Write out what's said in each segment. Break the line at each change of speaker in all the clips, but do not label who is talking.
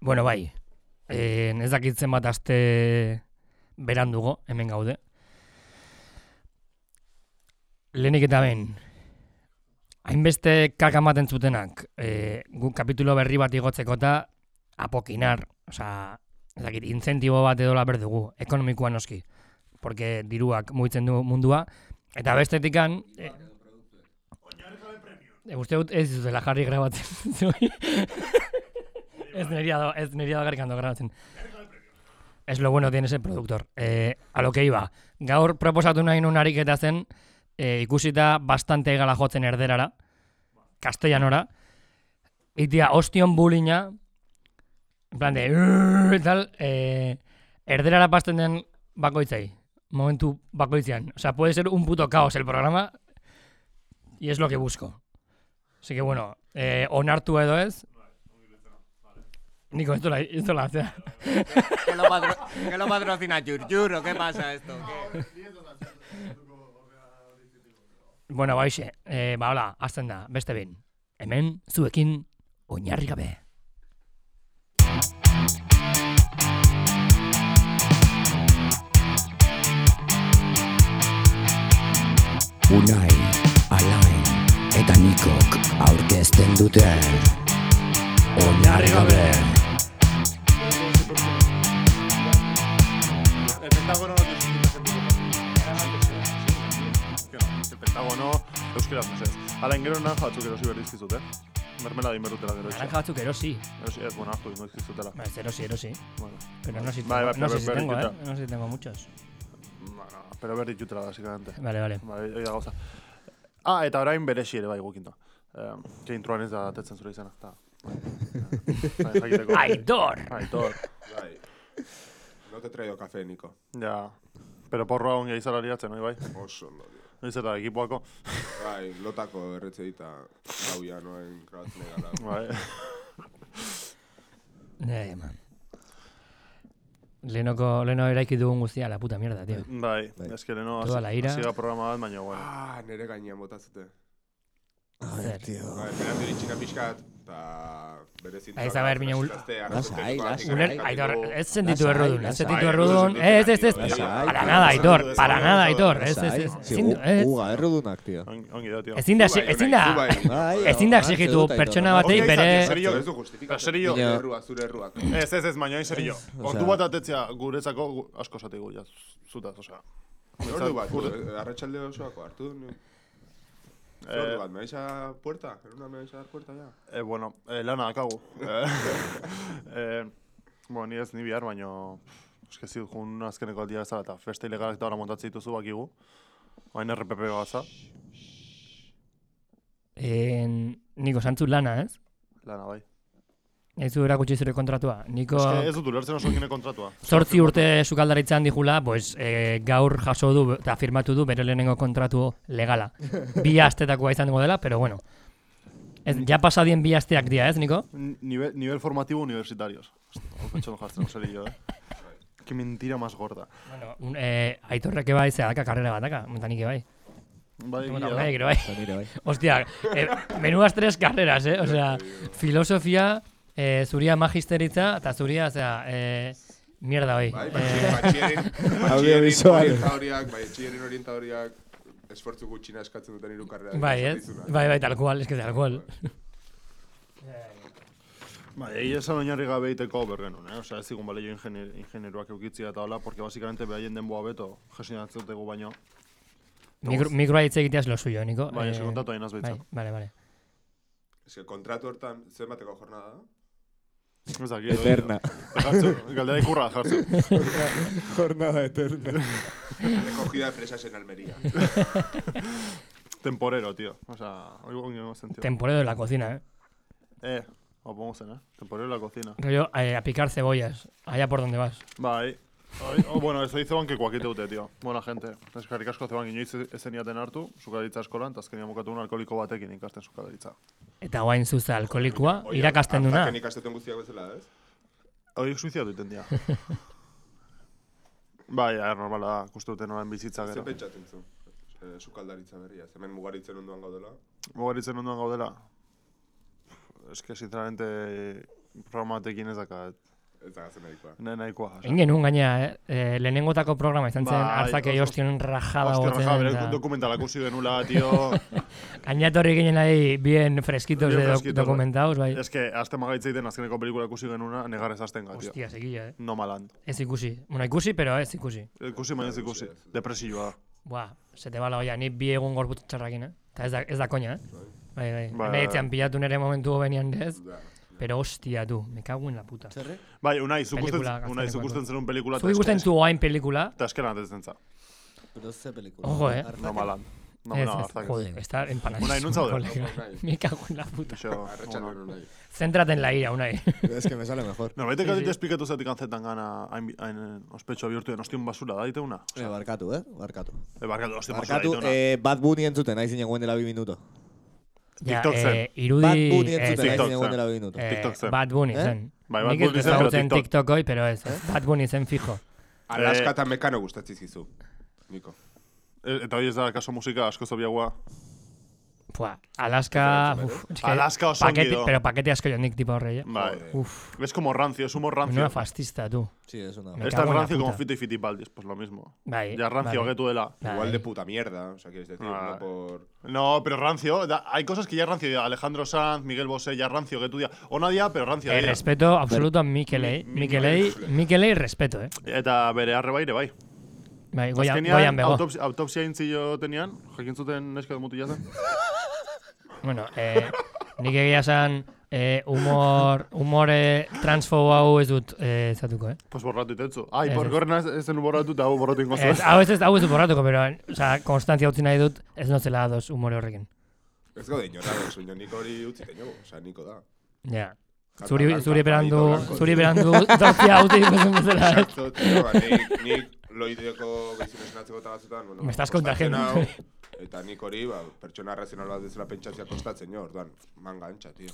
Bueno, bai, e, ez dakitzen bat aste berandugo, hemen gaude. Lehenik eta ben, hainbeste kaka ematen zutenak, e, gu kapitulo berri bat igotzeko eta apokinar, osea, ez dakit, incentibo bat edola berdugu, ekonomikoa noski, porque diruak mugitzen du mundua, eta bestetikan... E, E, uste dut ez dutela jarri grabatzen. zuei. ez neria da, ez neria da garrikando grabatzen. Es lo bueno tiene ese productor. Eh, a lo que iba. Gaur proposatu nahi nun ariketa zen, eh, ikusita bastante gala jotzen erderara, castellanora, itia ostion bulina, en plan de, "Urr", y tal, eh, erderara pasten den bakoitzai, momentu bakoitzean. O sea, puede ser un puto caos el programa, y es lo que busco. Así que bueno, eh, onartu edo ez, Niko, esto la, esto la hace.
¿Qué lo, patro que lo patrocina Yur Yur o qué pasa esto? ¿Qué?
Bueno, baixe, eh, ba, hola, azten da, beste behin. Hemen, zuekin, oinarri gabe.
Unai, Alain eta Nikok aurkezten dute Oinarri gabe
El Pentágono Eh, no tiene suficiente gente. Claro, el Pentágono euskera mesedez. Hala, ingero naranja batzuk erosi behar dizkizute. Mermelada egin berrutela gero. etxe.
Naranja batzuk erosi.
Erosi, ez, bueno, hartu ingo dizkizutela.
Ba, ez erosi, erosi.
Bueno,
Pero no sé si
Vale,
tengo,
vale,
no
pero
sé si tengo, eh.
berrituta.
No sé si tengo muchos.
bueno, pero behar ditutela, básicamente.
Vale, vale.
Vale, Bai, hori da gauza. Ah, eta orain beresi ere bai gukinto. Eh, ke introan ez da atetzen zure izena. Ta. Bai, jakiteko.
Aitor!
Aitor.
Bai. No te traigo café, Nico.
Ja. Pero porroa ongi izara liatzen, oi bai?
Oso ondo. dio.
Noiz eta ekipoako.
Bai, lotako erretxe dita gauia noen grabatzen egala.
Bai.
Eh, man. Lehenoko, leheno eraiki dugun guztia, la puta mierda, tío.
Bai,
Bai.
ez que leheno
Toda la ira.
hasi da programa bat, baina, bueno.
Ah, nere gainean botatzete.
Zer.
Bai, berandu iritsi da pixkat, eta bere zintua.
Ez, a ber, mine, ul-
Lasai, lasai.
Uler, Aitor, ez sentitu errudun, ez
lasai.
sentitu errudun. Ez, ez, ez,
Lasai.
para nada, Aitor, para nada, Aitor. Ez, ez, ez,
Si,
ezin, ez.
uga, errudunak, tio.
Ongi, ongi da, tio.
Ezin da, ezin da,
Bai,
ezin da
hartze
exigitu
dut, Aitor.
pertsona
Ongi
batei
izan,
bere...
tio, serio.
Ez du justifikatzen.
Serio.
Zure erruak, zure erruak.
Ez, ez, ez, baina hain serio. Ordu
osea-
bat atetzea guretzako gu- asko esate gu, ja, zutaz, osea.
Ordu bat,
Urde-
eh, arratsalde osoako hartu. ni- Ze
Eh.
Ordu bat, me vais a puerta? En una me vais a dar puerta ya?
Eh, bueno, eh, lana dakagu. Eh, eh, bueno, ni ez, ni bihar, baino... Eske zi, jun azkeneko aldia bezala, eta festa ilegalak eta hori montatzi dituzu bakigu. Oain RPP baza,
En, niko, santzu lana, ez?
lana bai.
Ez du erakutsi zure kontratua. Niko
Eske ez dut ulertzen oso gine kontratua.
zortzi urte sukaldaritzan dijula, pues, eh, gaur jaso du eta firmatu du bere lehenengo kontratu legala. Bi astetakoa izango dela, pero bueno. Ez, ja pasadien bi asteak dira, ez, Niko?
N- Nivel, nivel formativo universitarios. Hau petxon jartzen, serio, eh? Que mentira más gorda.
Bueno, un, eh, aitorrek bai, ze daka karrera bataka, montanik bai.
Bai,
Bueno,
egia da.
nahi, ere bai.
Nire bai.
Hostia, eh, menudas tres carreras, eh? O sea, filosofia, eh, zuria magisteritza, eta zuria, o sea, eh, mierda bai.
Bai,
Eh,
batxierin,
Audiovisual.
orientadoriak, bai, txierin orientadoriak, esfortzu gutxina eskatzen duten hiru karrera.
Bai, ez? Bai, bai, tal cual, es que tal cual.
Bai, egia esan oinarri gabe iteko bergenun, eh? Osea, ez digun baleio ingenier, ingenieruak eukitzia eta hola, porque básicamente beraien denboa beto gestionatzen dutegu baino.
Mikro, mikroa hitz egitea es lo suyo, Niko.
Bai,
Eh,
ez kontatu hain azbeitza.
Bai, vale, vale.
Ez que kontratu hortan, zenbateko jornada da?
Ez dakit. edo-
Eterna.
Jartzu, galdera ikurra jartzu.
Jornada eterna.
Recogida de fresas en Almería.
Temporero, tío. Osea, oigo ongi ongo zen, tío.
Temporero de la cocina, eh.
eh, opongo zen, eh? Temporero en la cocina.
Rollo, eh, a picar cebollas, allá por donde vas.
Bai. Oi, oh, bueno, ez oizeban kekuakite dute, tío. Buena gente. Eskarrik asko zeban inoiz ezen iaten hartu, sukaritza eskolan, eta azkenia mokatu un alkoholiko batekin ikasten sukaritza.
Eta guain zuza alkoholikoa, irakasten duna.
Azken ikastetun guztiak bezala, ez?
Hori suiziatu iten dira. bai, aher, normala da, kustu duten orain bizitza
Ze
gero.
pentsatzen zu? Eh, Sukaldaritza berria, ez? hemen mugaritzen onduan gaudela.
Mugaritzen ondoan gaudela. Ez que, sinceramente, programa batekin ez dakat.
Ez da gazen nahikoa.
Nahi nahikoa. osea.
Egin genuen gaina, eh? eh, lehenengotako programa izan zen,
Bai,
hartzak
oso-
ostion rajada
Hostia,
gotzen.
raja, bere dokumentalak usi genula, tio.
Bai. Gainatorri ginen ahí bien fresquitos
Bien
de doc-
fresquitos, bai.
documentados, bai.
Ez que, azte magaitzeiten azkeneko pelikula ikusi genuna, negarrez azten gatio.
Hostia, seguilla, eh?
No maland.
Ez ikusi. Bueno, ikusi, pero ez ikusi.
Ikusi baina ez ikusi. Depresioa.
Buah, se te va la olla, ni bi egun gorputz txarrakin, eh? Eta ez da, ez da koña, eh? Bai, bai.
Bai,
Ba,
bai,
Hene etxean pilatu nire momentu benian ez,
Da.
pero hostia, du, me cago en la puta.
eh?
Bai, unai, zukusten,
Pelikula, gaztelekoak,
unai,
bai.
zukusten zenun pelikula
Zu ikusten
eta
zu hain pelikula,
eskeran atetzen za.
Pero ze pelikula.
Oh.
ojo, eh?
No maland. No,
ez,
no,
ez,
hartak ez.
joder, está
Unai,
empanadísimo,
non zaude?
colega.
Unai.
Me cago en la puta.
Ixo,
Arratxan
bueno.
hori nahi.
Céntrate en la ira, Unai.
Es que me sale mejor.
Norbaitek
Sí,
adit
sí.
esplikatu zetik antzetan gana hain, hain ospetxo bihurtu den ostion basura da diteuna.
Eh, barkatu, eh? Barkatu.
Ebarkatu, ostion basura
Barkatu,
diteuna.
eh, Bad Bunny entzuten, nahi zinen guen dela bi minuto.
Ja,
TikTok zen.
eh,
Bad
irudi...
Bunny
eh,
entzuten, nahi
TikTok
zinen guen
zen.
dela bi minuto.
eh,
TikTok zen.
Bad Bunny
Eh?
zen.
Bai, Bad
Nik ez
Bunny zen, pero
ezagutzen
TikTok.
TikTok hoi, pero ez. Bad Bunny zen fijo.
Alaska eta mekano gustatzen zizu. Niko.
E- Eta hori ez da kaso musika asko zobiagoa.
Pua, Alaska... Uf, es que
Alaska oso ongi
paquete,
do.
Pero pakete asko joan nik tipo horre, eh?
Bai.
Uf,
Es como rancio, es humor rancio.
menuda fascista, tú.
Sí, es una...
Me
Esta es
cago en la
rancio como
puta.
Fito y Fitipaldis, pues lo mismo.
Bai,
Ya rancio
vale.
que tú de la...
Bai.
Igual de puta mierda, o sea, quieres decir,
Ah.
no por...
No, pero rancio, da- hay cosas que ya rancio, ya Alejandro Sanz, Miguel Bosé, ya rancio que tú ya... O nadia, pero rancio.
Eh,
dira.
respeto absoluto a Mikelei. Mikelei, Mikelei respeto, eh?
Eta bere arre baire, bai.
Bai, goian,
Azkenean,
goian bego.
autopsi- autopsia intzio tenean, jakin zuten neska mutila zen.
Bueno, eh, nik egia esan eh, humor, humore transfobo hau ez dut eh, zatuko, eh?
Pues borratu itetzu. Ai,
Ez,
por
ez.
gorna ez zen borratu eta hau borratu ingo
Ez,
zuen.
hau ez, hau ez dut borratuko, pero, eh, o sea, konstantzia utzi nahi dut, ez nozela ados humore horrekin.
Ez gaude inora, baina niko hori utzi teño, o sea, niko da.
Ja.
Carta
Zuri,
blanca,
zuri berandu,
palito blanco.
zuri berandu, zortzia utzi dituzen bezala. ez?
Exacto, tío, ba, nik, nik loideko gaizu esnatzeko eta batzutan, bueno,
Me estás
kostatzen
contagiando.
hau, Eta nik hori, ba, pertsona razional bat bezala pentsatzea kostatzen jo, orduan, manga antxa, tío.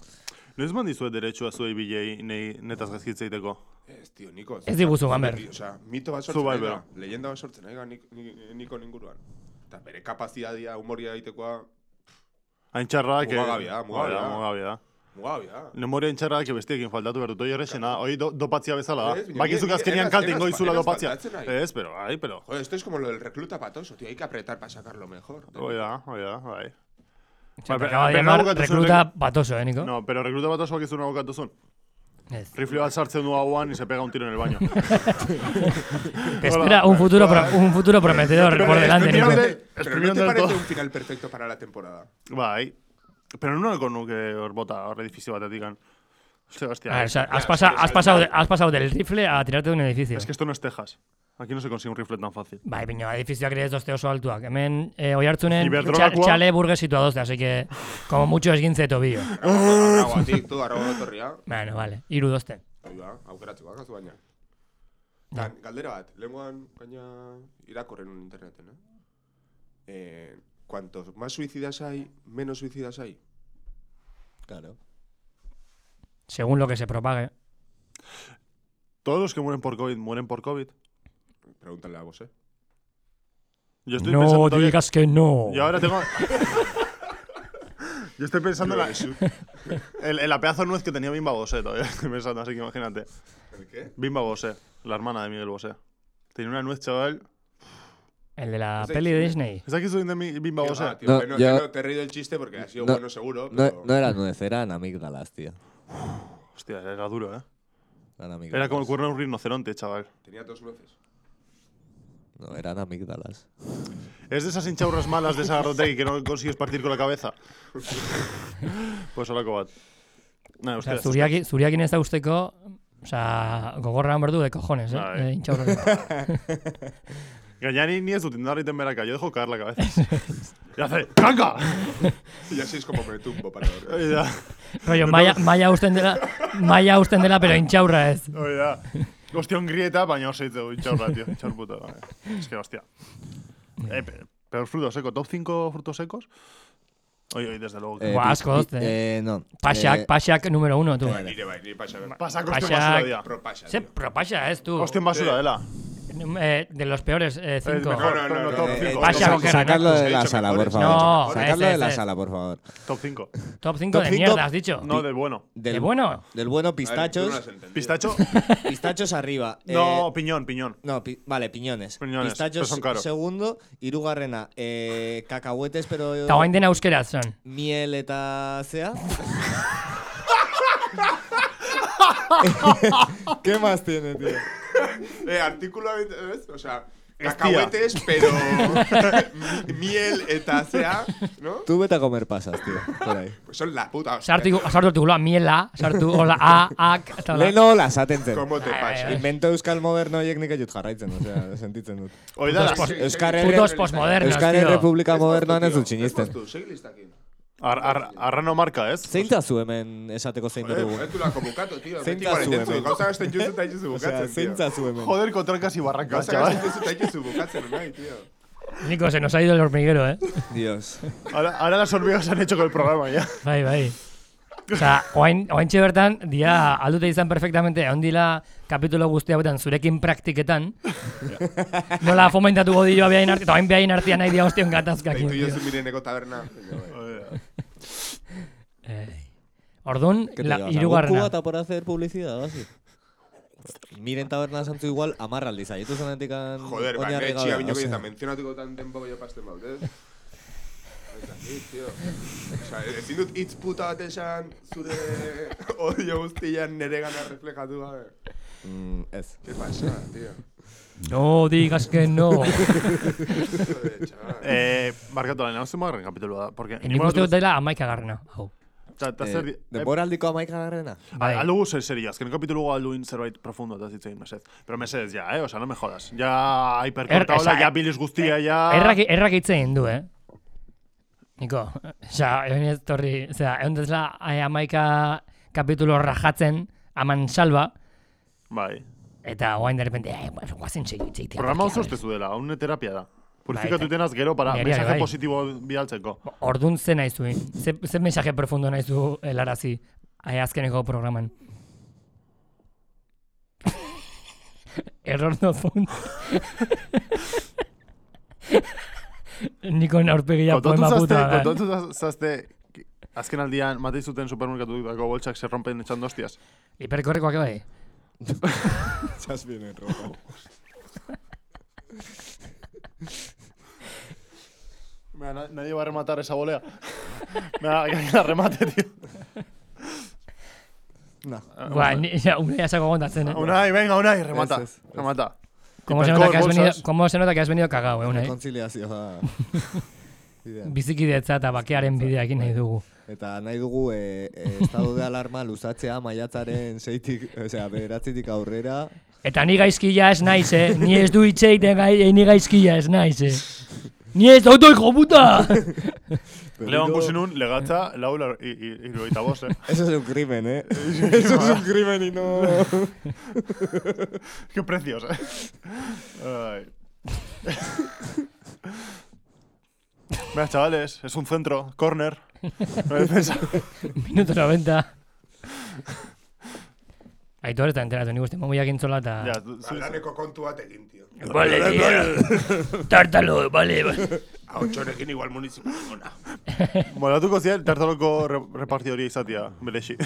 Noiz mandizuet derechua zuei bilei nei netaz gazkitzeiteko?
Ez, tío, niko.
Ez diguzu, Gamber.
O sea, mito bat sortzen
Zu bai,
ari da,
bero.
leyenda bat sortzen ari da nik, nik, niko ninguruan. Eta bere kapazitatea humoria egitekoa,
Hain txarrak... eh,
Mugagabea, mugagabea.
Mugagabea, mugagabea.
mugabia.
Memoria intxarrak bestiekin faltatu behar dut, hoi errexena, hoi do, dopatzia bezala.
Ez, baina
Bakizuk
nire-
azkenean
nire-
kalte
nire-
ingo izula
nire-
dopatzia.
faltatzen ari.
Ez, pero, ai, pero.
Joder, esto es como lo del recluta patoso, tío, hay que apretar para sacarlo mejor.
Hoi da, hoi da, bai.
Te
Ba,
Acaba de
be-
llamar
bukatu zuen
recluta patoso, eh, Nico?
No, pero recluta bat osoak izuna bokatu zuen.
Ez.
Rifle bat sartzen du hauan y se pega un tiro en el baño.
Te espera un futuro, pro- un futuro prometedor por delante,
Pero-
Nico.
Pero no
Exprimiendo
te
el
parece
todo.
un final perfecto para la temporada.
bai. Pero no nahiko nuke hor bota, hor edifizio batetik. an. Hostia,
A
hostia.
ver, o sea,
Es
has, pasa- has pasado, de- has pasado del rifle a tirarte de un edificio.
que esto no es Texas. Aquí no se consigue un rifle tan fácil.
Bai, baina edifizioak ere ez dozte oso altuak. Hemen, eh, oi hartzunen,
Iberdrolakoa.
txale burge dozte, así que, como mucho esguintze de tobillo.
Arrago a ti, tú, arrago torria.
Bueno, vale, iru dozte.
Hau da, aukeratzeko, akazu baina. Gan, galdera bat, lenguan, gaina irakorren un interneten, eh? Eh, cuantos más suicidas hay, menos suicidas hay.
Claro.
Según lo que se propague.
Todos los que mueren por COVID, mueren por COVID.
Pregúntale a vos, eh.
Yo estoy
No
pensando todavía-
digas que no.
Yo ahora tengo... Oh. Yo estoy pensando en la, en- en la pedazo de nuez que tenía Bimba Bosé todavía. Estoy pensando, así que imagínate.
¿El qué?
Bimba Bosé, la hermana de Miguel Bosé. Tenía una nuez, chaval.
El de la
Ese
peli de
chisme.
Disney.
¿Está aquí subiendo mi- Bimba
Tío,
Bosé?
va, tío,
No,
bueno,
yo-
no, te he reído el chiste porque ha sido
No,
bueno seguro,
No,
pero...
no eran nuez, eran amígdalas, tío.
Hostia, era duro, ¿eh?
Eran
Era
amígdalas.
como el cuerno de un rinoceronte, chaval.
Tenía dos nueces.
No, eran amígdalas.
Es de esas hinchaurras malas de esa Sagardotegui que no consigues partir con la cabeza. pues hola, Cobat. Nah,
O sea,
euskera.
zuriaki, zuriakin ez dauzteko, o sea, gogorra berdu de cojones, eh?
Bai.
eh intxaurra.
Gañani ni es tu tindar y temeraca. Yo dejo caer la cabeza. y hace ¡Canca!
Y así es como me tumbo para dormir.
Oye, ya.
Rollo, maia, maia usten dela, maia usten dela, pero intxaurra ez.
Oye, ya. Hostia, un grieta, pañó se hizo hinchaurra, tío. Hinchaur puta. vale. Es que, hostia. Eh, pe- pero frutos secos. ¿Top 5 frutos secos? Oye, oye, desde luego. que-
Eh, Buah,
pi-
asko
pi-
dozte,
Eh, no.
Paxak,
eh,
paxak número uno, tú.
Nire bai, nire pasa.
Pasa,
Pasak-
hostia, basura, tía.
Pro pasa,
Ze
tío.
propaxa ez, tú.
Hostia, basura, Ela.
eh, de los peores eh,
El
cinco.
mejor,
No, no,
pero
no,
top
no,
cinco,
Eh,
top
Vaya
sa-
cinco.
ojera,
sacadlo
Nacho.
de la
He dicho
sala, por
mejores.
No,
favor. Sacadlo
ese,
de la
ese.
sala, por favor.
Top 5.
Top 5
Top
de
cinco.
mierda, has dicho.
No, del bueno.
Del bueno.
Del bueno,
A ver, tú no lo has
pistachos.
entendido.
Pistacho.
Pistachos arriba.
No,
Eh,
piñón, piñón.
No, pi- vale, piñones.
Piñones, pero
Pistachos
son caros.
segundo, hirugarrena, eh, cacahuetes, pero
Eta guain dena euskeraz son.
miel eta zea. ¿Qué más tiene, tío?
Eh, artículo, ¿ves? O sea,
Es tía.
cacahuetes, pero mi- miel eta zea, ¿no?
Tú vete a comer pasas, tío. Por ahí.
Pues son la puta hostia.
Sartu, sartu artikulua, miela, sartu, hola, a, ak, eta hola.
Leno las atentzen.
¿Cómo te pasa?
Invento euskal modernoek nik aiut jarraitzen, osea, sentitzen dut.
Hoy da
Putos
las-
Euskal Herri-
Putos posmodernos,
Euskal
tío.
Errepublika modernoan ez dut
Estás
sinisten.
tú, segilistakien.
ar- ar- Arrano marca, ¿eh? ez?
Zein da zu hemen esateko zein
Joder,
dugu?
joder, tú la convocado, Eh, tío.
Zein
Beti
da
guaren
zu
dentzu,
hemen?
Gauza gasten juzu eta juzu
Osea,
bukatzen,
zein
tío.
da zu hemen?
Joder, contrancas y barrancas,
Gauza
chaval.
gasten juzu eta juzu bukatzen, nahi, tío.
Nico, se nos ha ido el hormiguero, eh.
Dios.
Ahora, ahora las hormigas han hecho con el programa ya.
Bai, bai. Osa, oain, oaintxe bertan, dia, aldute izan perfectamente, ondila kapitulo guztia betan zurekin praktiketan, nola fomentatuko dioa behain artean, eta oain behain artean nahi dia ostion gatazkakin.
Deitu
tío.
jozu mireneko taberna. Venga, bai.
Eh, Orduan,
¿Qué te
la,
llevas? ¿Algún
irugarrena.
cubata por hacer publicidad o así? Miren taberna santu igual amarra aldiz, aietu zanetikan
Joder, ba, nire
oinarri
txia
gabe,
binoko
osea.
eta mentzionatuko tan denbo gehiago pasten baut, ez? Eta hit, tío. Osa, ezin dut hitz puta bat esan, zure odio guztian nere gana reflejatu gabe.
Mm, ez.
Ke pasa, tío.
No digas que no.
Joder, chaval.
Eh, marcatu lan, hau marren kapitulua da. Porque
Nik uste dut dela amaika garrena. Hau.
Ta, ta zer,
Eh, Denbora aldiko amaika garrena?
Bai.
Algo ser serio, es que en el capítulo Alduin zerbait profundo eta zitzein mesez. Pero mesez ya, eh, o sea, no me jodas. Ya hipercortado
esa,
la ya
eh,
bilis guztia ya.
Errak, errak itzen du, eh? Niko, oza, egon ez torri, oza, egon dezla eh, amaika kapitulo rajatzen, aman salba,
Bai.
eta guain derrepente, eh, pues, guazen segi itzeitea.
Programa
porque,
oso
a ver.
ustezu dela, haune terapia da.
Bai,
Purifikatu
eta-
tenaz gero para
Niri ere
mensaje
bai.
positibo bidaltzeko.
Orduan ze nahi zuen, ze, ze mensaje profundo nahi zu helarazi eh, azkeneko programan. Error not found. Nikon aurpegia
Kontatu
poema
zazte,
puta. bai. da.
kontatu zaz- zazte, azken aldian matei zuten supermerkatutako boltsak se rompen echando hostias.
Hiperkorrekoak bai.
Mira, na- nadie va a rematar esa volea. Mira, que la remate, tío.
No.
Ah,
Guau, Ba, ni- ja, una ya se hago zen, eh.
Unai, venga, Unai, remata.
Ez, ez, ez.
Remata.
¿Cómo se,
Hipercor,
nota que has
bolsas.
venido, ¿Cómo se nota que has venido cagado, eh, una, eh?
Kontziliazioa. Bidean.
Bizikidetza eta bakearen bideakin nahi dugu.
Eta nahi dugu eh, eh, estado de alarma luzatzea maiatzaren seitik, osea, bederatzitik aurrera.
Eta ni gaizkila ez naiz, eh? Ni ez du itxeiten gai, eh, ni gaizkila ez naiz, eh? Ni ez dauto, hijo puta!
Leban
Berriro-
Gusinun, legatza, laula iruita bost, eh?
Eso es un crimen, eh? Eso es un crimen y no...
Qué precios, eh? Ay. Mira, chavales, es un centro, corner. No hay defensa.
Minuto 90. Aitor eta enteratu, nik uste mamuiak intzola eta...
Ya, tú- sí, sí.
Laneko kontu bat egin, tío.
Vale, tío. Tártalo, vale, vale.
Hau txorekin igual munizipal ona.
Molatuko ziren tartaroko re- repartidoria izatea, berexi.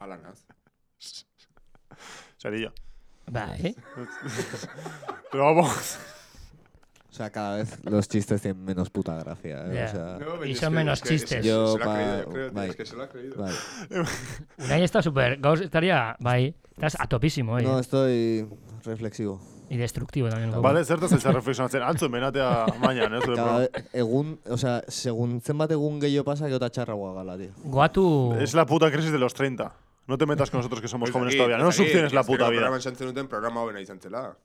Ala naz.
Zarilla.
Ba, eh?
Pero vamos.
O sea, cada vez los chistes tienen menos puta gracia, eh?
Ya.
O sea...
No,
Y
es
son
que-
menos
es que- es-
chistes.
se-
Yo
se lo ha
pa-
creído, yo creo, tío,
vale.
es que se lo ha creído.
Vale.
Unai está super, gaur estaría, bai, estás a topísimo, eh?
No, estoy reflexivo.
Y destructivo también. un poco.
Bale, zertaz ez reflexionatzen. Antzu, menatea maian, ez? zure
Cada
programa.
vez, egun, o sea, segun zenbat egun gehiago pasa, gero txarra gala, tío.
Guatu...
Es la puta crisis de los 30. No te metas con nosotros que somos
Pues
jóvenes
aquí,
todavía. No
pues
nos
aquí,
subciones la
azkeneko
puta vida.
Programan santzen duten programa hobena izan zela.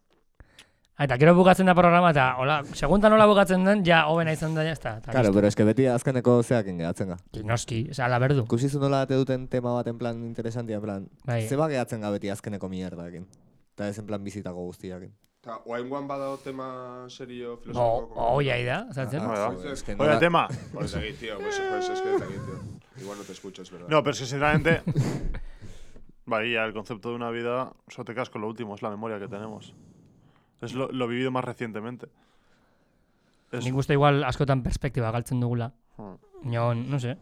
Ah, Eta gero bukatzen da programa eta, hola, segundan hola bukatzen den, ja, hobena izan da, jazta.
Claro, pero es que beti azkeneko zeakin gehatzen ga.
Noski, oza, laberdu.
Ikusi zu nola ate duten tema bat en plan interesantia, en plan,
Bai.
zeba gehatzen ga beti azkeneko mierdakin. Eta ez en plan bizitako guztiakin.
Eta, oaingoan badao tema serio
Bo,
filosofiko.
hoi da, zatzen?
Ah,
joder,
joder.
es que
Oye,
nola-
tema.
Pues aquí, tío, pues, pues es que es aquí, tío. Igual no te escucho, es verdad.
No, pero es que sinceramente. Vaya, el concepto de una vida. Eso te casco, lo último es la memoria que tenemos. Es lo, lo vivido más recientemente. Es-
Nik uste igual askotan perspektiba galtzen dugula.
Hmm.
Nio, no se.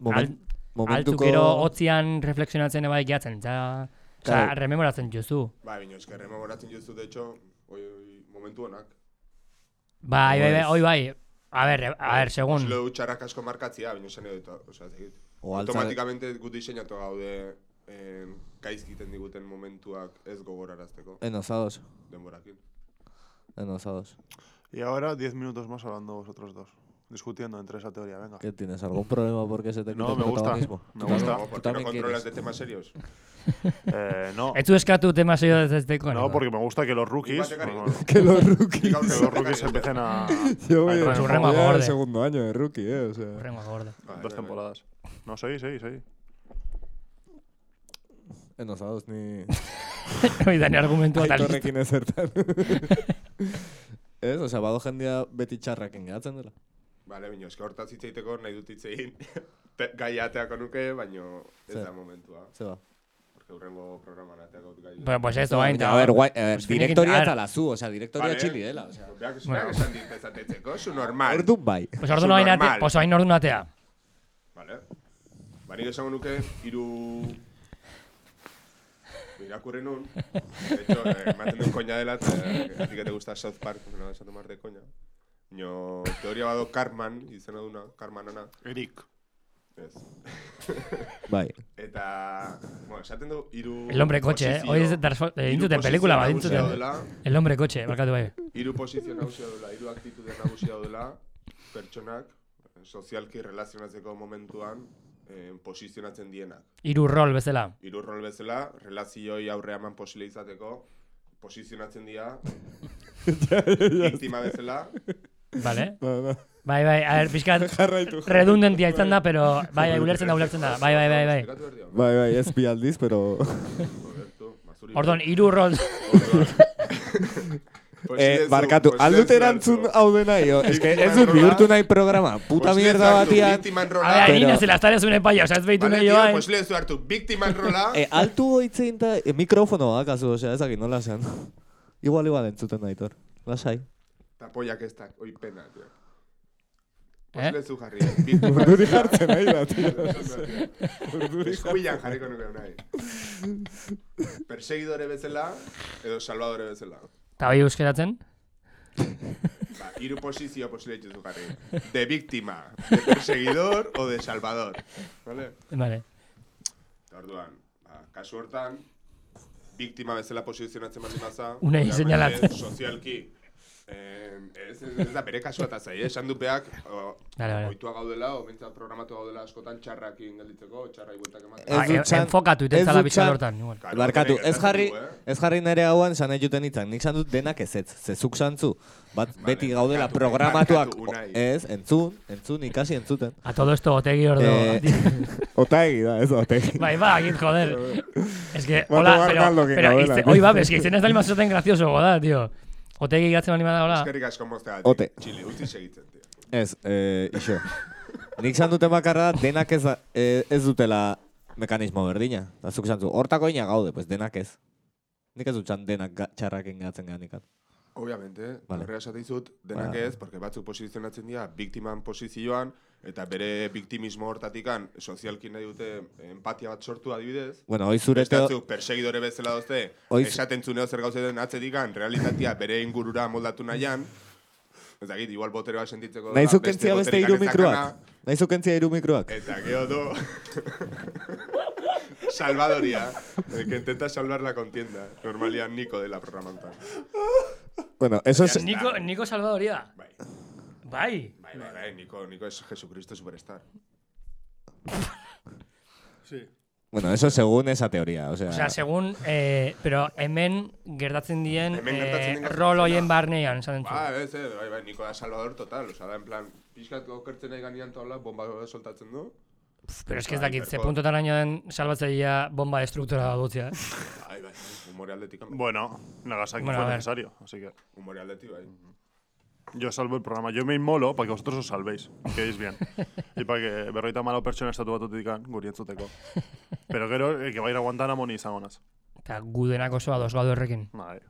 Momen,
Altzuk
momentuko...
gero hotzian reflexionatzen ebai gehatzen, eta... Osa,
Claro.
rememoratzen juzu.
Ba, bino, eske rememoratzen justu, de hecho, oi, oi, momentu honak.
Bai, bai, bai,
Pues-
oi bai. A ber, a ber, segun.
Zulo txarrak asko markatzia, baina esan edo, osea, ez dakit.
O altza-
Automatikamente gut diseinatu gaude eh, gaizkiten diguten momentuak ez gogorarazteko
En osados,
denborakin.
en osados.
Y ahora 10 minutos más hablando vosotros dos. Discutiendo entre esa teoría, venga.
¿Qué tienes? ¿Algún problema porque se te quita
No,
el
me gusta.
protagonismo?
Me
Tú
gusta.
No,
también- tú
porque no
también
controlas
quieres.
de temas serios.
Eh, no,
Ez du eskatu tema seio ez ez deko.
no, porque me gusta que los rookies.
Igual,
no, no,
Que los
Ni
rookies.
gaur
que
egun
los rookies
bakarrik.
empiecen a.
Yo voy
Ay,
con
a-
su rema
voy al
gorda.
segundo año de rookie, eh, o sea.
Horrengo gorda.
Dos temporadas. No, seguí, seguí, seguí.
En osados ni...
Hoi da, ni argumentua eta listo.
Aitorrekin ezertan. Ez, osea, bado jendea beti txarraken gehatzen dela.
Bale, baina eske hortaz hitz egiteko nahi dut hitz egin. Te- gai ateako nuke, baina ez
Zer?
da momentua.
Zeba.
Porque urrengo programan ateako dut gai.
Bueno, Ba, pues esto, bain,
a ver, guai, a ver,
Pues finekin-
direktoria
a ver.
eta lazu, osea, direktoria
Vale.
txili
eh,
dela, osea.
Beak
Bueno.
zuenak esan dit ezatetzeko, zu normal.
Orduan bai.
Pues ordu noain atea,
Subnormal.
pues oain ordu atea.
Vale. Ba, nik esango nuke, hiru... Ba, Irakurri nun. De hecho, eh, maten duen koña dela, eta eh, a ti que te gusta South Park, no vas a tomar de coña. Nio, teoria bado Carman, izena duna, Carman ana.
Eric.
Ez.
Bai.
Eta, bueno, esaten du, hiru...
El hombre coche, eh.
posizio-
Hoy es transfo- eh,
hiru
intzuten
posizio
pelikula bat,
nagusia
intzuten.
daudela,
El hombre coche, barkatu bai.
Hiru posizio nagusia dela, hiru aktitude nagusia dela, pertsonak, eh, sozialki relazionatzeko momentuan, eh, posizionatzen dienak.
Hiru rol bezala.
Hiru rol bezala, relazioi aurre eman posible izateko, posizionatzen dira, biktima bezala,
Vale?
Ba, ba.
Bai, bai, a ver, pixkat
Jarraitu.
redundentia izan da, pero bai, bai, ulertzen da, ulertzen da. Bai, bai, bai, bai.
Esplikatu behar dio,
Bai, bai, ez bi aldiz, pero...
Roberto, mazuri.
Ordon, hiru rol.
Orduan. Posible
Eh,
zu,
barkatu,
posible
aldut
zu,
erantzun
Aldo.
hau denai, o, eske ez dut bihurtu nahi programa, puta
Posible zu
mierda
hartu
batian.
biktiman
A
rola.
ver,
Pero-
anina, zela, estare zuen epaia, osa, ez behitu
Vale,
nahi
tío, pues
joan.
posible zu hartu biktiman rola.
Eh, altu hitzein da, eh, mikrofonoa kasu, osea, ezakit nola esan. Igual, igual entzuten nahitor. Lasai.
Tapoiak ez da, oi pena, tío. Pues
Eh?
Posible zu jarri, biktiman
Urduri jartzen nahi da, tio.
Urduri Eskuilan jarriko nuke nahi. Persegidore bezala, edo salvadore bezala.
Eta bai euskeratzen?
Ba, hiru posizio posible dituzu jarri. De víctima, de perseguidor o de salvador. Vale?
Vale.
Eta orduan, ba, kasu hortan, biktima bezala posizionatzen baldin baza,
Unai
obviamente,
seinalatzen.
Sozialki, eh, ez, ez, ez da bere kasua eta zai, eh? esan dupeak, o,
Vale, vale.
oitua gaudela, o bintzat programatu gaudela askotan txarrakin gelditzeko, txarra igueltak
Ez
Ah,
ematen.
dut
en-
txan-
Enfokatu,
ez
itentzala
dut
pixkat
txan-
hortan. igual.
Claro,
Barkatu,
hori
ez
gertatu
jarri,
dugu, eh?
ez jarri nire hauan san juten hitzak, nik san dut denak ez ez, zezuk zantzu. Bat, beti gaudela
barkatu,
programatuak,
barkatu, Unai.
ez, entzun, entzun, ikasi entzuten.
A todo esto, otegi ordo.
Eh, Otaegi da, ez da, otaegi.
Bai, ba, agit, joder. Es que,
Mato
hola, pero,
Arnaldo que
pero
novela,
izte,
tío.
oi, ba, es que izena ez da lima zoten gracioso, goda, tío. Otegi gatzen bali bada, hola.
Eskerrik asko mozteatik.
Ote.
Txile, utzi segitzen, tio.
Ez, eh, iso. Nik san duten bakarra da, denak ez, da- eh, ez dutela mekanismo berdina. Da zuk zantzu, hortako ina gaude, pues denak ez. Nik ez dut san denak ga- txarrakin gatzen ganikan.
Obviamente,
Vale.
vale. horrega esate dizut, denak
Vale.
ez, porque batzuk posizionatzen dira biktiman posizioan, eta bere biktimismo hortatikan sozialki nahi dute empatia bat sortu adibidez.
Bueno, hoi zure
Beste
teo...
batzuk perseguidore bezala dozte,
Oiz-
esaten zuneo zer gauzeten atzetikan, realitatea bere ingurura moldatu nahian, ez dakit, igual botere bat sentitzeko...
Nahizu
da,
kentzia beste
boterekan
hiru
ezakana,
mikroak. Nahizu kentzia hiru mikroak.
Eta gero du... Salvadoria, el que intenta salvar la contienda. Normalian Nico de la programantan.
Bueno, eso es...
Niko, Niko Salvadoria.
Bai.
Bai.
Bai, bai, bai, Nico, Nico es Jesucristo Superstar.
Bueno, eso según esa teoría, o sea...
Osea, segun, eh, pero hemen gertatzen dien
Hemen gertatzen den
eh,
gauza
rol
zuzena.
hoien barnean, esaten zu.
Ba, ez, eh, bai, bai, Nico da Salvador total, osea, da, en plan, pixkat okertzen nahi ganean tola, bomba bat soltatzen du.
Pero es que ez
Bai,
dakit, ze
perfo.
puntotan araño den salbatzailea bomba destruktora da dutzia. eh?
Bai, bai, humore aldetik, hombre.
Bueno, Nagasaki
Bueno, a
fue
ver.
necesario, así que.
humore aldetik, bai.
Yo salvo el programa. Yo me inmolo para que vosotros os salvéis. Quedéis bien. y para que berroita malo pertsona estatu bat utikan, guri entzuteco. Pero eh, gero, el que va a ir a Guantánamo ni zagonaz.
Eta gudenak oso ados gaudu horrekin.
Madre.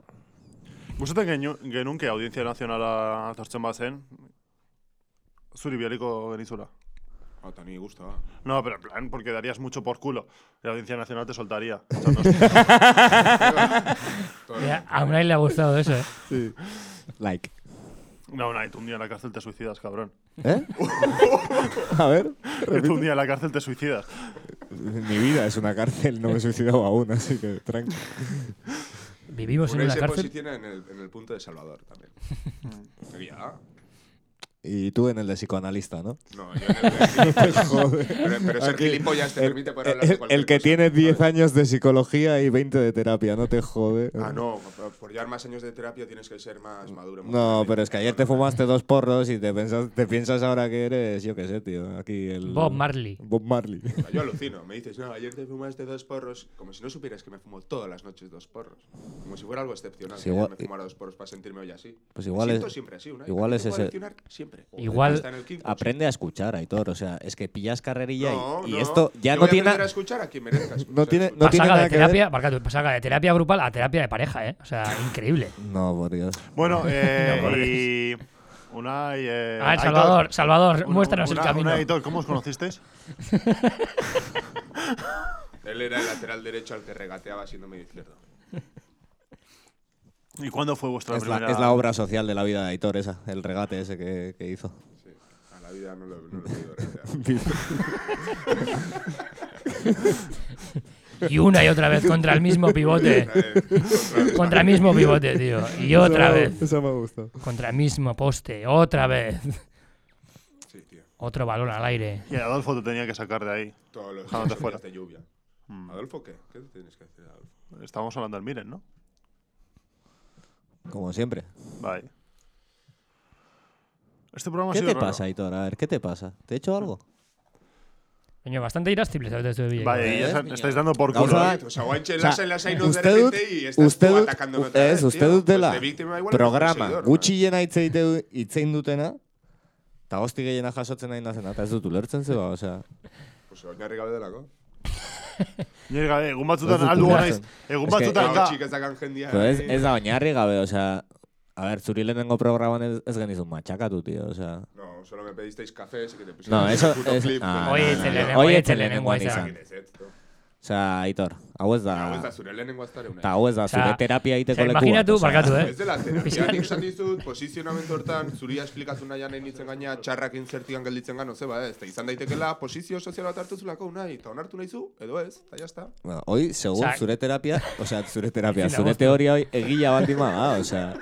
Gustatzen genu, genunke audientzia nazionala atortzen bazen, zuri bialiko genizula.
Hauta, ni guztua.
No, pero en plan, porque darías mucho por culo. La Audiencia Nacional te soltaría. O sea, no sé.
Todo
Ya, a Unai le ha gustado eso, ¿eh?
Like.
No, no, y tú un día en la cárcel te suicidas, cabrón.
¿Eh? A ver.
Y tú un día en la cárcel te suicidas.
Mi vida es una cárcel, no me he suicidado aún, así que tranqui.
Vivimos en
Unai
una
se
cárcel.
posiciona en el, en el punto de Salvador también. Egia.
Y tú en el de psicoanalista, ¿no?
No, yo en el de-
Pues Joder.
Pero, pero ser
Aquí,
gilipollas te
el-
permite poder
el-
hablar de
el
cualquier
que
cosa,
tiene
¿sabes?
10 años de psicología y 20 de terapia, no te jode.
Ah, no, por- por llevar más años de terapia tienes que ser más maduro. más
No,
grande.
pero es que ayer te fumaste dos porros y te piensas, te piensas ahora que eres, yo qué sé, tío. Aquí el.
Bob Marley.
Bob Marley.
Yo alucino, me dices, no, ayer te fumaste dos porros, como si no supieras que me fumo todas las noches dos porros. Como si fuera algo excepcional,
Sí,
que
Pues igual-
ayer me fumara dos porros para sentirme hoy así.
Pues igual
me siento
es-
siempre así, Unai.
igual
Me
es
puedo
ese-
alucinar siempre.
Igual-
Hasta en el quinto.
Aprende a escuchar, Aitor. O sea, es que pillas carrerilla y-
No,
y,
no,
esto ya
yo
no
voy a
tiene.
aprender a escuchar a quien merezca escuchar.
No tiene-
escuchar.
no tiene
Pasaga
nada
de
que ver.
terapia, barca, tú, pasaga de terapia grupal a terapia de pareja, ¿eh? O sea, increíble.
No, por Dios.
Bueno, eh, y... Unai, eh,
A ver,
Aitor.
Ah, Salvador, Salvador,
Una-
muéstranos
una-
el camino.
Unai, Aitor, ¿cómo os conocisteis?
Él era el lateral derecho al que regateaba siendo medio izquierdo.
¿Y cuándo fue vuestra
Es la,
primera...?
es la obra social de la vida de Aitor, esa, el regate ese que, que hizo.
Sí, a la vida no lo, no lo he podido regatear.
Y una y otra vez contra el mismo pivote.
Eh,
Contra el mismo pivote, tío. Y otra vez.
Esa me ha gustado.
Contra el mismo poste. Otra vez.
Sí, tío.
Otro balón al aire.
Y Adolfo te tenía que sacar de ahí.
Todos los
Dejándote
días
fuera.
de lluvia.
Mm.
¿Adolfo qué? ¿Qué tienes que decir, Adolfo?
Ah,
Estábamos hablando del Miren, ¿no?
Como siempre.
Vale. Este programa ha
¿Qué
sido
te
raro.
pasa, Aitor? A ver, ¿qué te pasa? ¿Te he hecho algo?
Coño, bastante irascible, ¿sabes? Esto de Villa.
Vale, y ya
¿Ves,
sa-
niño?
estáis dando por
Gauza
culo.
da-
¿eh?
O sea, guanche,
O
las
sea,
las hay no de
usted dut-
repente y estás
usted
tú
dut-
atacándome otra
ez,
vez,
uste
tío.
dut dela
Pues de víctima igual
programa
me considero,
gutxiena hitz egite- hitz egin dutena, eta hosti gehiena jasotzen nahi nazena, eta ez dut ulertzen ba, zeba, osea.
¿no? Pues oinarri gabe delako.
Nire gabe, egun batzutan
Ez dut
aldu
ulertzen.
naiz. Egun
Ez que-
batzutan
Hau
da.
txik ez dakan jendia.
Pero ez, ez da oinarri gabe, osea, a ber, zuri lehenengo programan ez, ez genizun matxakatu, tío, osea.
No, solo me pedisteis café, así que te puse
No, eso...
puto
Es,
clip. este?
ah,
Oye,
no, no,
etxe
no.
lehenengoa,
Oie,
etxe
etxe
lehenengoa
lehenengoan
izan.
izan.
Ez, ez, to.
Osea, Aitor, hau ez da...
Hau ez da zure lehenengo aztare
Eta
una.
hau ez da,
Osea,
zure terapia egiteko
Osea,
leku bat.
imaginatu,
osea.
barkatu, eh?
Ez dela terapia, nik esan dizut, posizionamentu hortan, zuria esplikazun nahian egin nintzen gaina, txarrak inzertigan gelditzen gano, zeba ez, eta izan daitekela, posizio sozial bat hartu zulako nahi, eta onartu nahi zu, edo ez, eta jazta.
Bueno, hoy, según
Osea,
zure terapia, osea, zure terapia,
ezin da
zure
goztu.
teoria hoi egila bat ima da, osea.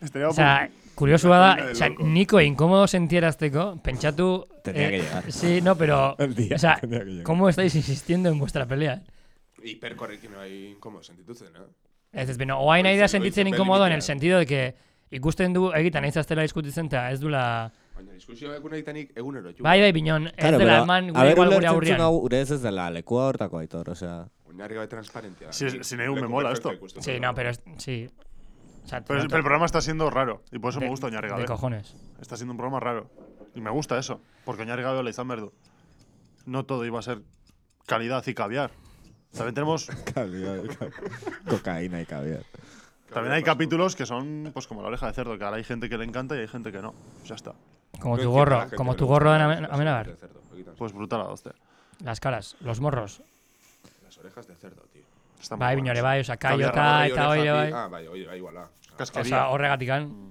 Estaría
O
bu-
sea, kuriosua da,
Una de
o sea,
loco.
niko inkomodo sentierazteko, pentsatu...
Tenía que llegar.
eh, Sí, no, pero...
El día
o sea,
que tenía que llegar.
¿cómo estáis insistiendo en vuestra pelea?
Hiperkorrekin bai inkomodo sentitutzen, eh?
Ez ez, beno, oain nahi da
Goizen,
sentitzen
goizen,
inkomodo en
berdin
el
dira.
sentido de que ikusten du egitan nahiz aztela diskutitzen eta ez dula...
Baina, diskusio egun egitenik egunero, ju.
Bai, bai, binon, ez
Claro,
dela
pero,
eman
a
gure
ver,
igual gure
ulertzen zuen
aurrian.
hau, ure ez ez dela lekua hortako aitor, osea.
Oinarri gabe transparentia.
Si-
Nik
si nahi un
leku
me mola
perfectua
esto.
ikusten
Sí,
dut.
no, pero es- sí. O sea,
Pero,
no-
pero el programa está siendo raro. Y por eso
de-
me gusta Oñarri
De
Gabe.
cojones.
Está siendo un programa raro. Y me gusta eso. Porque Oñarri Gabe la izan berdu. No todo iba a ser calidad y caviar. También tenemos.
Kokaina y caviar.
También hay capítulos que son pues como la oreja de cerdo, que ahora hay gente que le encanta y hay gente que no. Pues ya está.
Como tu
No entiendo a la
gorro,
gente
como
que
tu
le
gorro de
gusta
Amen-
las
Amenábar.
orejas de cerdo. Oigitan,
Pues brutal a dos.
Las caras, los morros.
Las orejas de cerdo, tío.
Bai, binore, bai, oza, kaiota
Caviar,
eta
oreja,
oire, bai.
pi- Ah, bai, oire, bai, iguala.
Oza, horregatikan.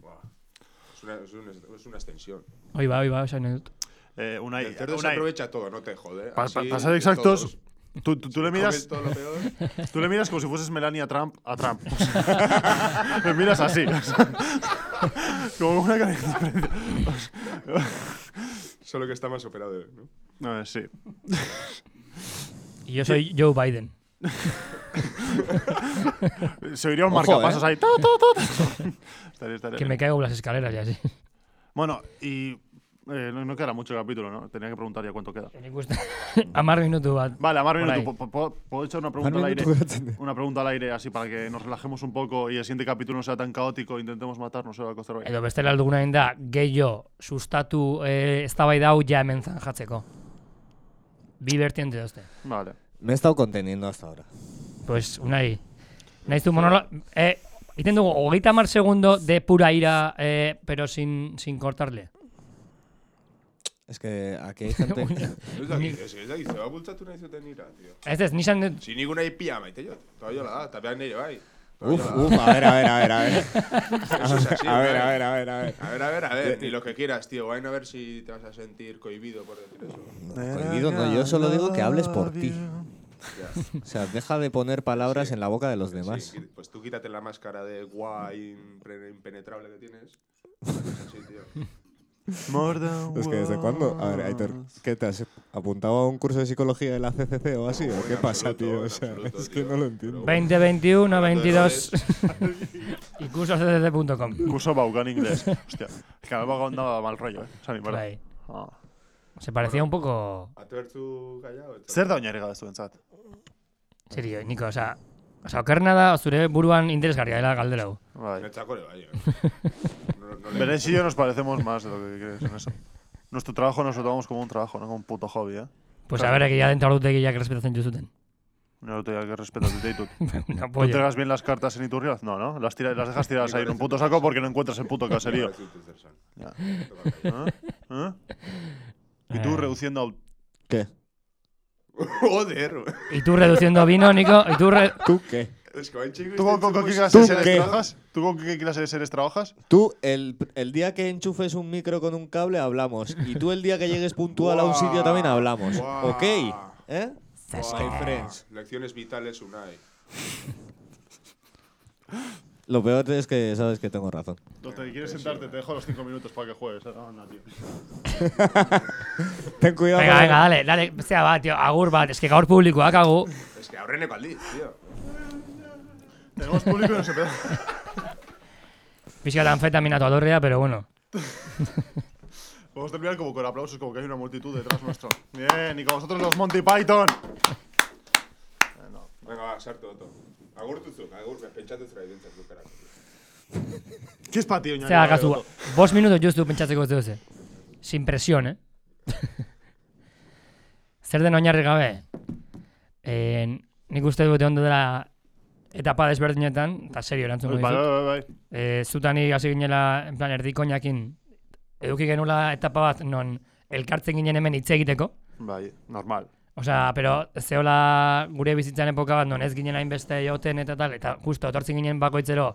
Es una, es una, es una extensión.
Oi, ba, oi, ba, oza, nahi dut.
una,
El cerdo se aprovecha todo, no te jode.
Para,
Así,
ser
de
exactos,
todos.
tú, tú- tú le
Comes
miras,
todo lo peor.
tú le miras como si fueses Melania Trump a Trump. O sea, le miras así. o sea, como una cara diferente.
Solo que está más operado, ¿no?
A ver, eh, sí.
Y yo soy Joe Biden.
Se oiría un
Ojo,
marcapasos
eh.
ahí. ta, ta, ta, ta. Estaría- estaría
Que
bien.
me caigo por las escaleras ya, sí.
Bueno, y eh, no, no queda mucho capítulo, ¿no? Tenía que preguntar ya cuánto queda.
Nik uste, amar minutu bat.
Vale, a Marvin,
Por ahí.
¿tú, po- po- ¿puedo echar una pregunta al aire? Una pregunta al aire, así para que nos relajemos un poco y el siguiente capítulo no sea tan caótico, intentemos matarnos edo Alcocer bai.
Edo bestela alduguna da gehiago sustatu eh, eztabaida hau ja hemen zanjatzeko. Bi bertiente dozte.
Vale.
Me he estado conteniendo hasta ahora.
Pues, unai. Naiz du monola... Eh, Egiten dugu, hogeita mar segundo de pura ira, eh, pero sin, sin cortarle.
Es que aquí hay gente...
Ez dakit, ez, ez dakit, zeba bultzatu nahi zuten nira, tio.
Ez ez, nizan dut...
Si nik unai pia maite jot, toa jola da, eta behar nire bai.
uf, uf, a ver, a ver, a ver, a ver.
Eso es así,
A ver,
¿vale?
a ver, Eh, a ver, a ver.
A ver, a ver, a ver, ni lo que quieras, tío. Vayan a ver si te vas a sentir cohibido por decir eso.
Prohibido no, yo solo digo que hables por ti. O sea, deja de poner palabras en la boca de los demás.
Sí, qui- pues tú quítate la máscara de guay impre- impenetrable que tienes. Así, tío.
More than
Es que desde cuándo? A ver, Aitor, ¿qué te has apuntado a un curso de psicología de la CCC o así? ¿O
en
qué pasa,
absoluto,
tío?
en
O sea,
absoluto,
es que
tío.
no lo entiendo.
20, 21, 22... Ikusozdz.com
Curso Baucan inglés. Hostia. Es que me Baucan daba mal rollo, eh. Esan ipar.
Bai.
Ah.
Se parecía un poco...
Atertu gaiao. eta-
Zer da oinarri gabe zuentzat?
Serio, Niko, osea... Osa, okerrena da, zure buruan interesgarria dela galdera hau.
Bai.
Netzako ere bai, eh. No, no le-
Berez y yo nos parecemos más de lo que crees en eso. Nuestro trabajo nos lo tomamos como un trabajo, no como un puto hobby, eh.
Pues a ver, egia den taurutegiak respetatzen juzuten.
No lo tenía que respetar el Tú
Una
¿Tú
polla.
entregas bien las cartas en Iturriaz? No, ¿no? Las, tira- las dejas tiradas ahí en un puto saco porque no encuentras el puto caserío.
Ez dut ezer esan.
Ya.
Toka gaiao.
¿Eh? ¿Eh? Y
Eh.
tú reduciendo al
¿Qué?
Joder.
Y tú reduciendo vino, Nico, y tú... re-
¿Tú qué?
este Es que bain txingu
¿Tú con, con- con qué
izten
clase de
¿Tú
seres
qué?
trabajas? ¿Tú con qué clase de seres trabajas?
Tú, el, el día que enchufes un micro con un cable, hablamos. Y tú, el día que llegues puntual a un sitio, también hablamos.
Guau.
¿Ok? ¿Eh? Sky Friends.
Lecciones vitales unai.
Lo peor es que sabes que tengo razón.
Donde quieres sentarte, te dejo los 5 minutos para que juegues. Anda, tío.
Ten cuidado.
Venga,
con-
venga, dale, dale, bestea bat, tío, agur bat, eske gaur publikoak agu.
Es que aurreneko aldiz, tío.
Tenemos público y no se pega.
Pixka eta anfetaminatu adorrea, pero bueno.
Podemos terminar como con aplausos, como que hay una multitud detrás nuestro. Bien, y con vosotros los Monty Python.
Venga, va, sartu oto. Agurtuzuk, agur, pentsatu zera identzak dukerako.
¿Qué es para ti, Oña?
Zea kasu, bost minutu justu pentsatzeko ez duze. Sin presión, eh? Zer den oinarri gabe? Eh, nik uste dute ondo dela etapa desberdinetan, eta serio erantzun
Bai, bai,
dizut.
bai, bai.
Eh, zutani hasi ginela, en plan, erdikoinakin, eduki genula etapa bat non elkartzen ginen hemen hitz egiteko.
Bai, normal.
Osea, pero zeola gure bizitzan epoka bat non ez ginen hainbeste joten eta tal, eta justo etortzen ginen bakoitzero,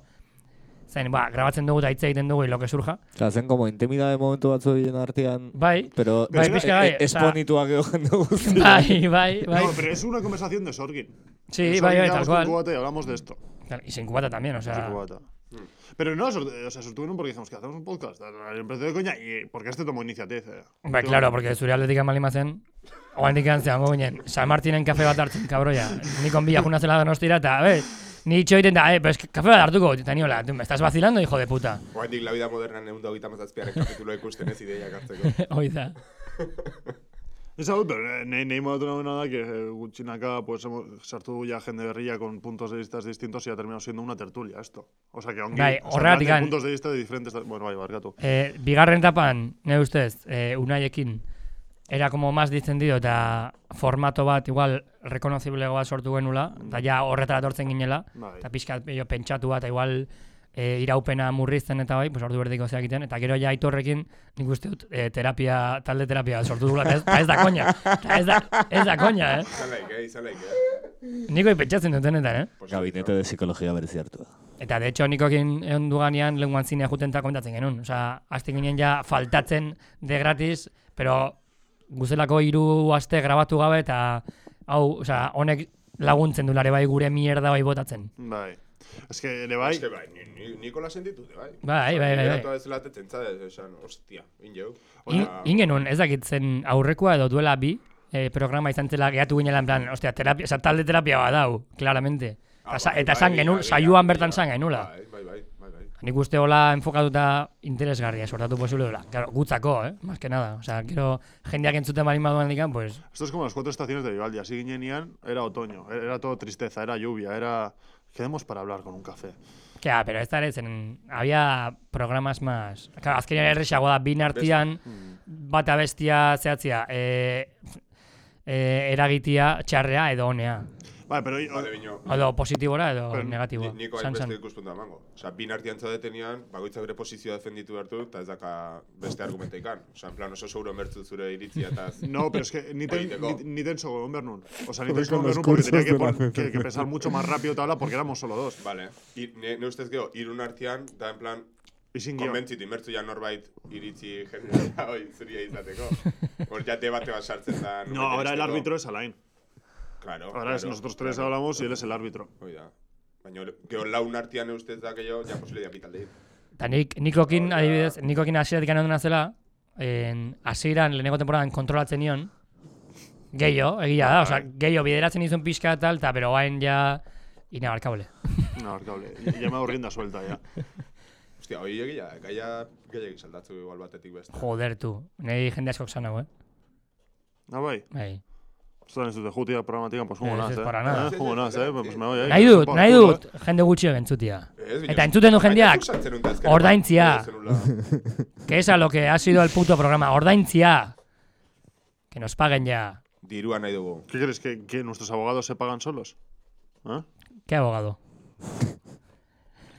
zain, ba, grabatzen dugu eta hitz egiten dugu y lo que surja.
O sea, hacen como intimidad de momento batzu bien artean.
Bai,
Pero
Bai, pixka bai,
es
osea-
bonituak ego jende guztia.
bai, bai, bai.
No, pero es una conversación de Sorgin.
Sí,
Sorgin
bai, bai, tal
grabamos con
cual. Ah.
cubata y hablamos de esto.
Tal, Y sin cubata también, o sea,
Sí, cubata. Pero no, sort- o sea, sortuvieron porque dijimos que hacemos un podcast. Empezó de coña y porque este tomó iniciativa. eh.
bai, claro, porque zure aldetik amalima zen, oandik antzean, bo ginen, San Martinen kafe bat hartzen, kabroia. Nikon bila juna zela donostira, eta, be, ni itxo egiten da, eh, pues kafe bat hartuko, eta niola, "Tú, me estás vacilando, hijo de puta.
Oaindik la vida moderna neun da hogeita mazazpiaren kapituloa ikusten ez ideiak hartzeko.
Hoi da.
Ez hau, pero eh, nahi, nahi modatu nagoena da, que eh, gutxinaka, pues, hemos- sartu ya jende berria con puntos de vistas distintos y ha terminado siendo una tertulia esto. O sea, que aunque...
Bai,
o sea,
horregatik
plantea
an-
puntos de vista de diferentes... Bueno, bai, barkatu.
Eh, bigarren tapan, ne ustez, eh, unaiekin, era como más distendido eta formato bat igual rekonoziblego bat sortu genula, eta ja horretara tortzen ginela,
Bai.
eta pixka jo pentsatu bat, igual eh, iraupena murrizten eta bai, pues ordu berdiko zeak egiten, eta gero ja aitorrekin nik uste dut eh, terapia, talde terapia bat sortu dugula, eta ez, eta ez da koña, eta ez da, ez da koña, eh?
Izan laik, eh, izan laik, eh.
Niko pentsatzen dut honetan, eh?
Gabinete de psicología berziartua.
Eta de hecho nikokin egon duganean lenguan zinea juten eta komentatzen genuen. Osea, aste ginen ja faltatzen de gratis, pero guzelako hiru aste grabatu gabe eta hau, osea, honek laguntzen dulare bai gure mierda bai botatzen.
Bai. Es que ere bai...
Eske bai, ni, ni, nikola sentitute, bai.
Bai, bai, bai, bai.
Eta ez latetzen zade, esan, hostia, in jau.
In, ingenun, ez dakit zen aurrekoa edo duela bi, eh, programa izan zela gehatu ginela en plan, ostia, terapia, osea, talde terapia bat dau, claramente.
Ah,
Eta, sa- eta san genuen, saioan bertan san genula.
Bai, bai, bai, bai, bai.
Nik uste hola enfokatuta interesgarria sortatu posible dela. Claro, gutzako, eh? Más que nada. O sea, quiero jendeak entzuten bali maduan dikan, pues...
Esto es como las cuatro estaciones de Vivaldi. Así guiñenían, era otoño, era todo tristeza, era lluvia, era... Quedemos para hablar con un café.
Kea, pero ez da ere zen... Había programas más... Claro, azkenean errexagoa da, bin artian,
Mm.
bata bestia zehatzia, eh, eh, eragitia, txarrea edo honea.
Bai, pero... i-
Bale, bino.
Edo positibora edo
Pero
negatiboa.
Ni- Niko
Zan,
hain
zan.
beste ikuspuntua emango. Osa, bin artian zaudetenian, bakoitza bere posizioa defenditu behar du, eta ez daka beste argumenta ikan. Osa, en plan oso seguro mertzu zure iritzia eta... ez-
No, pero es que ni, ten,
Político.
ni, ni tenso con Bernun. O sea, ni
Con
tenso con
los
Bernun porque
cursos
tenía que,
de la
pon- que- que
CCC.
pensar mucho más rápido tabla porque éramos solo dos.
Vale, I, ne, ne ustez geho, irun artian, da en plan,
Y sin guión.
konbentzitu, inbertzu ja norbait iritzi jendea hoi zuria izateko. Hor ja debate bat sartzen da...
No, ahora el árbitro es Alain.
Claro,
Ahora es
claro,
nosotros tres
claro.
hablamos y él es el árbitro.
Hoi da. Baina, geho laun artian ustez da gehiago, ja posile diapitalde.
Eta nik, nikokin,
Hola.
adibidez, nikokin hasieratik anaduna zela, en, hasieran lehenengo temporadan kontrolatzen nion, gehiago, egia da, osea, gehiago bideratzen izun pixka eta tal, eta pero hain ja inabarkable.
No, cable. Ya me hago rienda suelta ya.
Hostia, hoi egia, da, gaia gehiagik saldatzu igual batetik beste.
Joder, tu, nahi jende askok zan hau, eh?
Ah, bai.
Bai.
Están en su tejutia programática, pues como
Eh,
nada,
ez
eh.
para nada.
Eh, como nada, eh. Pues me voy ahí.
Nahi dut,
Pa-
nahi
culo,
dut, jende gutxi bentzutia.
Ez, baina-
Eta entzuten du
Baina
jendeak,
zuk sartzen unta azkenean.
ordaintzia.
Ez zenula.
que es a lo que ha sido el puto programa, ordaintzia. Que nos paguen ya.
Dirua nahi dugu.
¿Qué crees? ¿Que, que nuestros abogados se pagan solos? ¿Eh?
Qué abogado.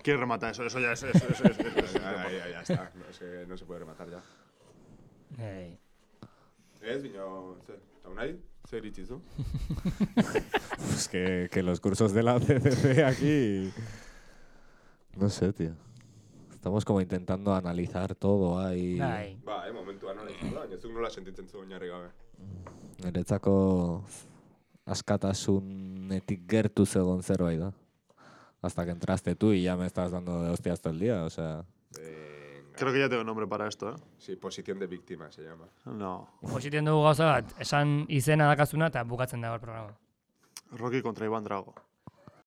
¿Quién remata eso? Eso ya es. Eso, eso, eso, eso, eso.
Ah, ya, ya está. No se, no se puede rematar ya.
Ei.
Ez, bino, ze, eta unai, ze iritzizu?
Pues que, que los cursos de la CCC aquí. No sé, tío. Estamos como intentando analizar todo ahí.
Bai.
Ba, eh, momentua nola izan da, baina zuk nola sentitzen zu oinarri gabe.
Niretzako askatasunetik gertu zegoen zerbait da. Hasta que entraste tú y ya me estás dando de hostias todo el día, o sea...
Creo que ya tengo nombre para esto, eh.
Sí, posición de víctima se llama.
No.
Positen dugu gauza bat, esan izena dakazuna eta bukatzen da hor programa.
Rocky contra Iván Drago.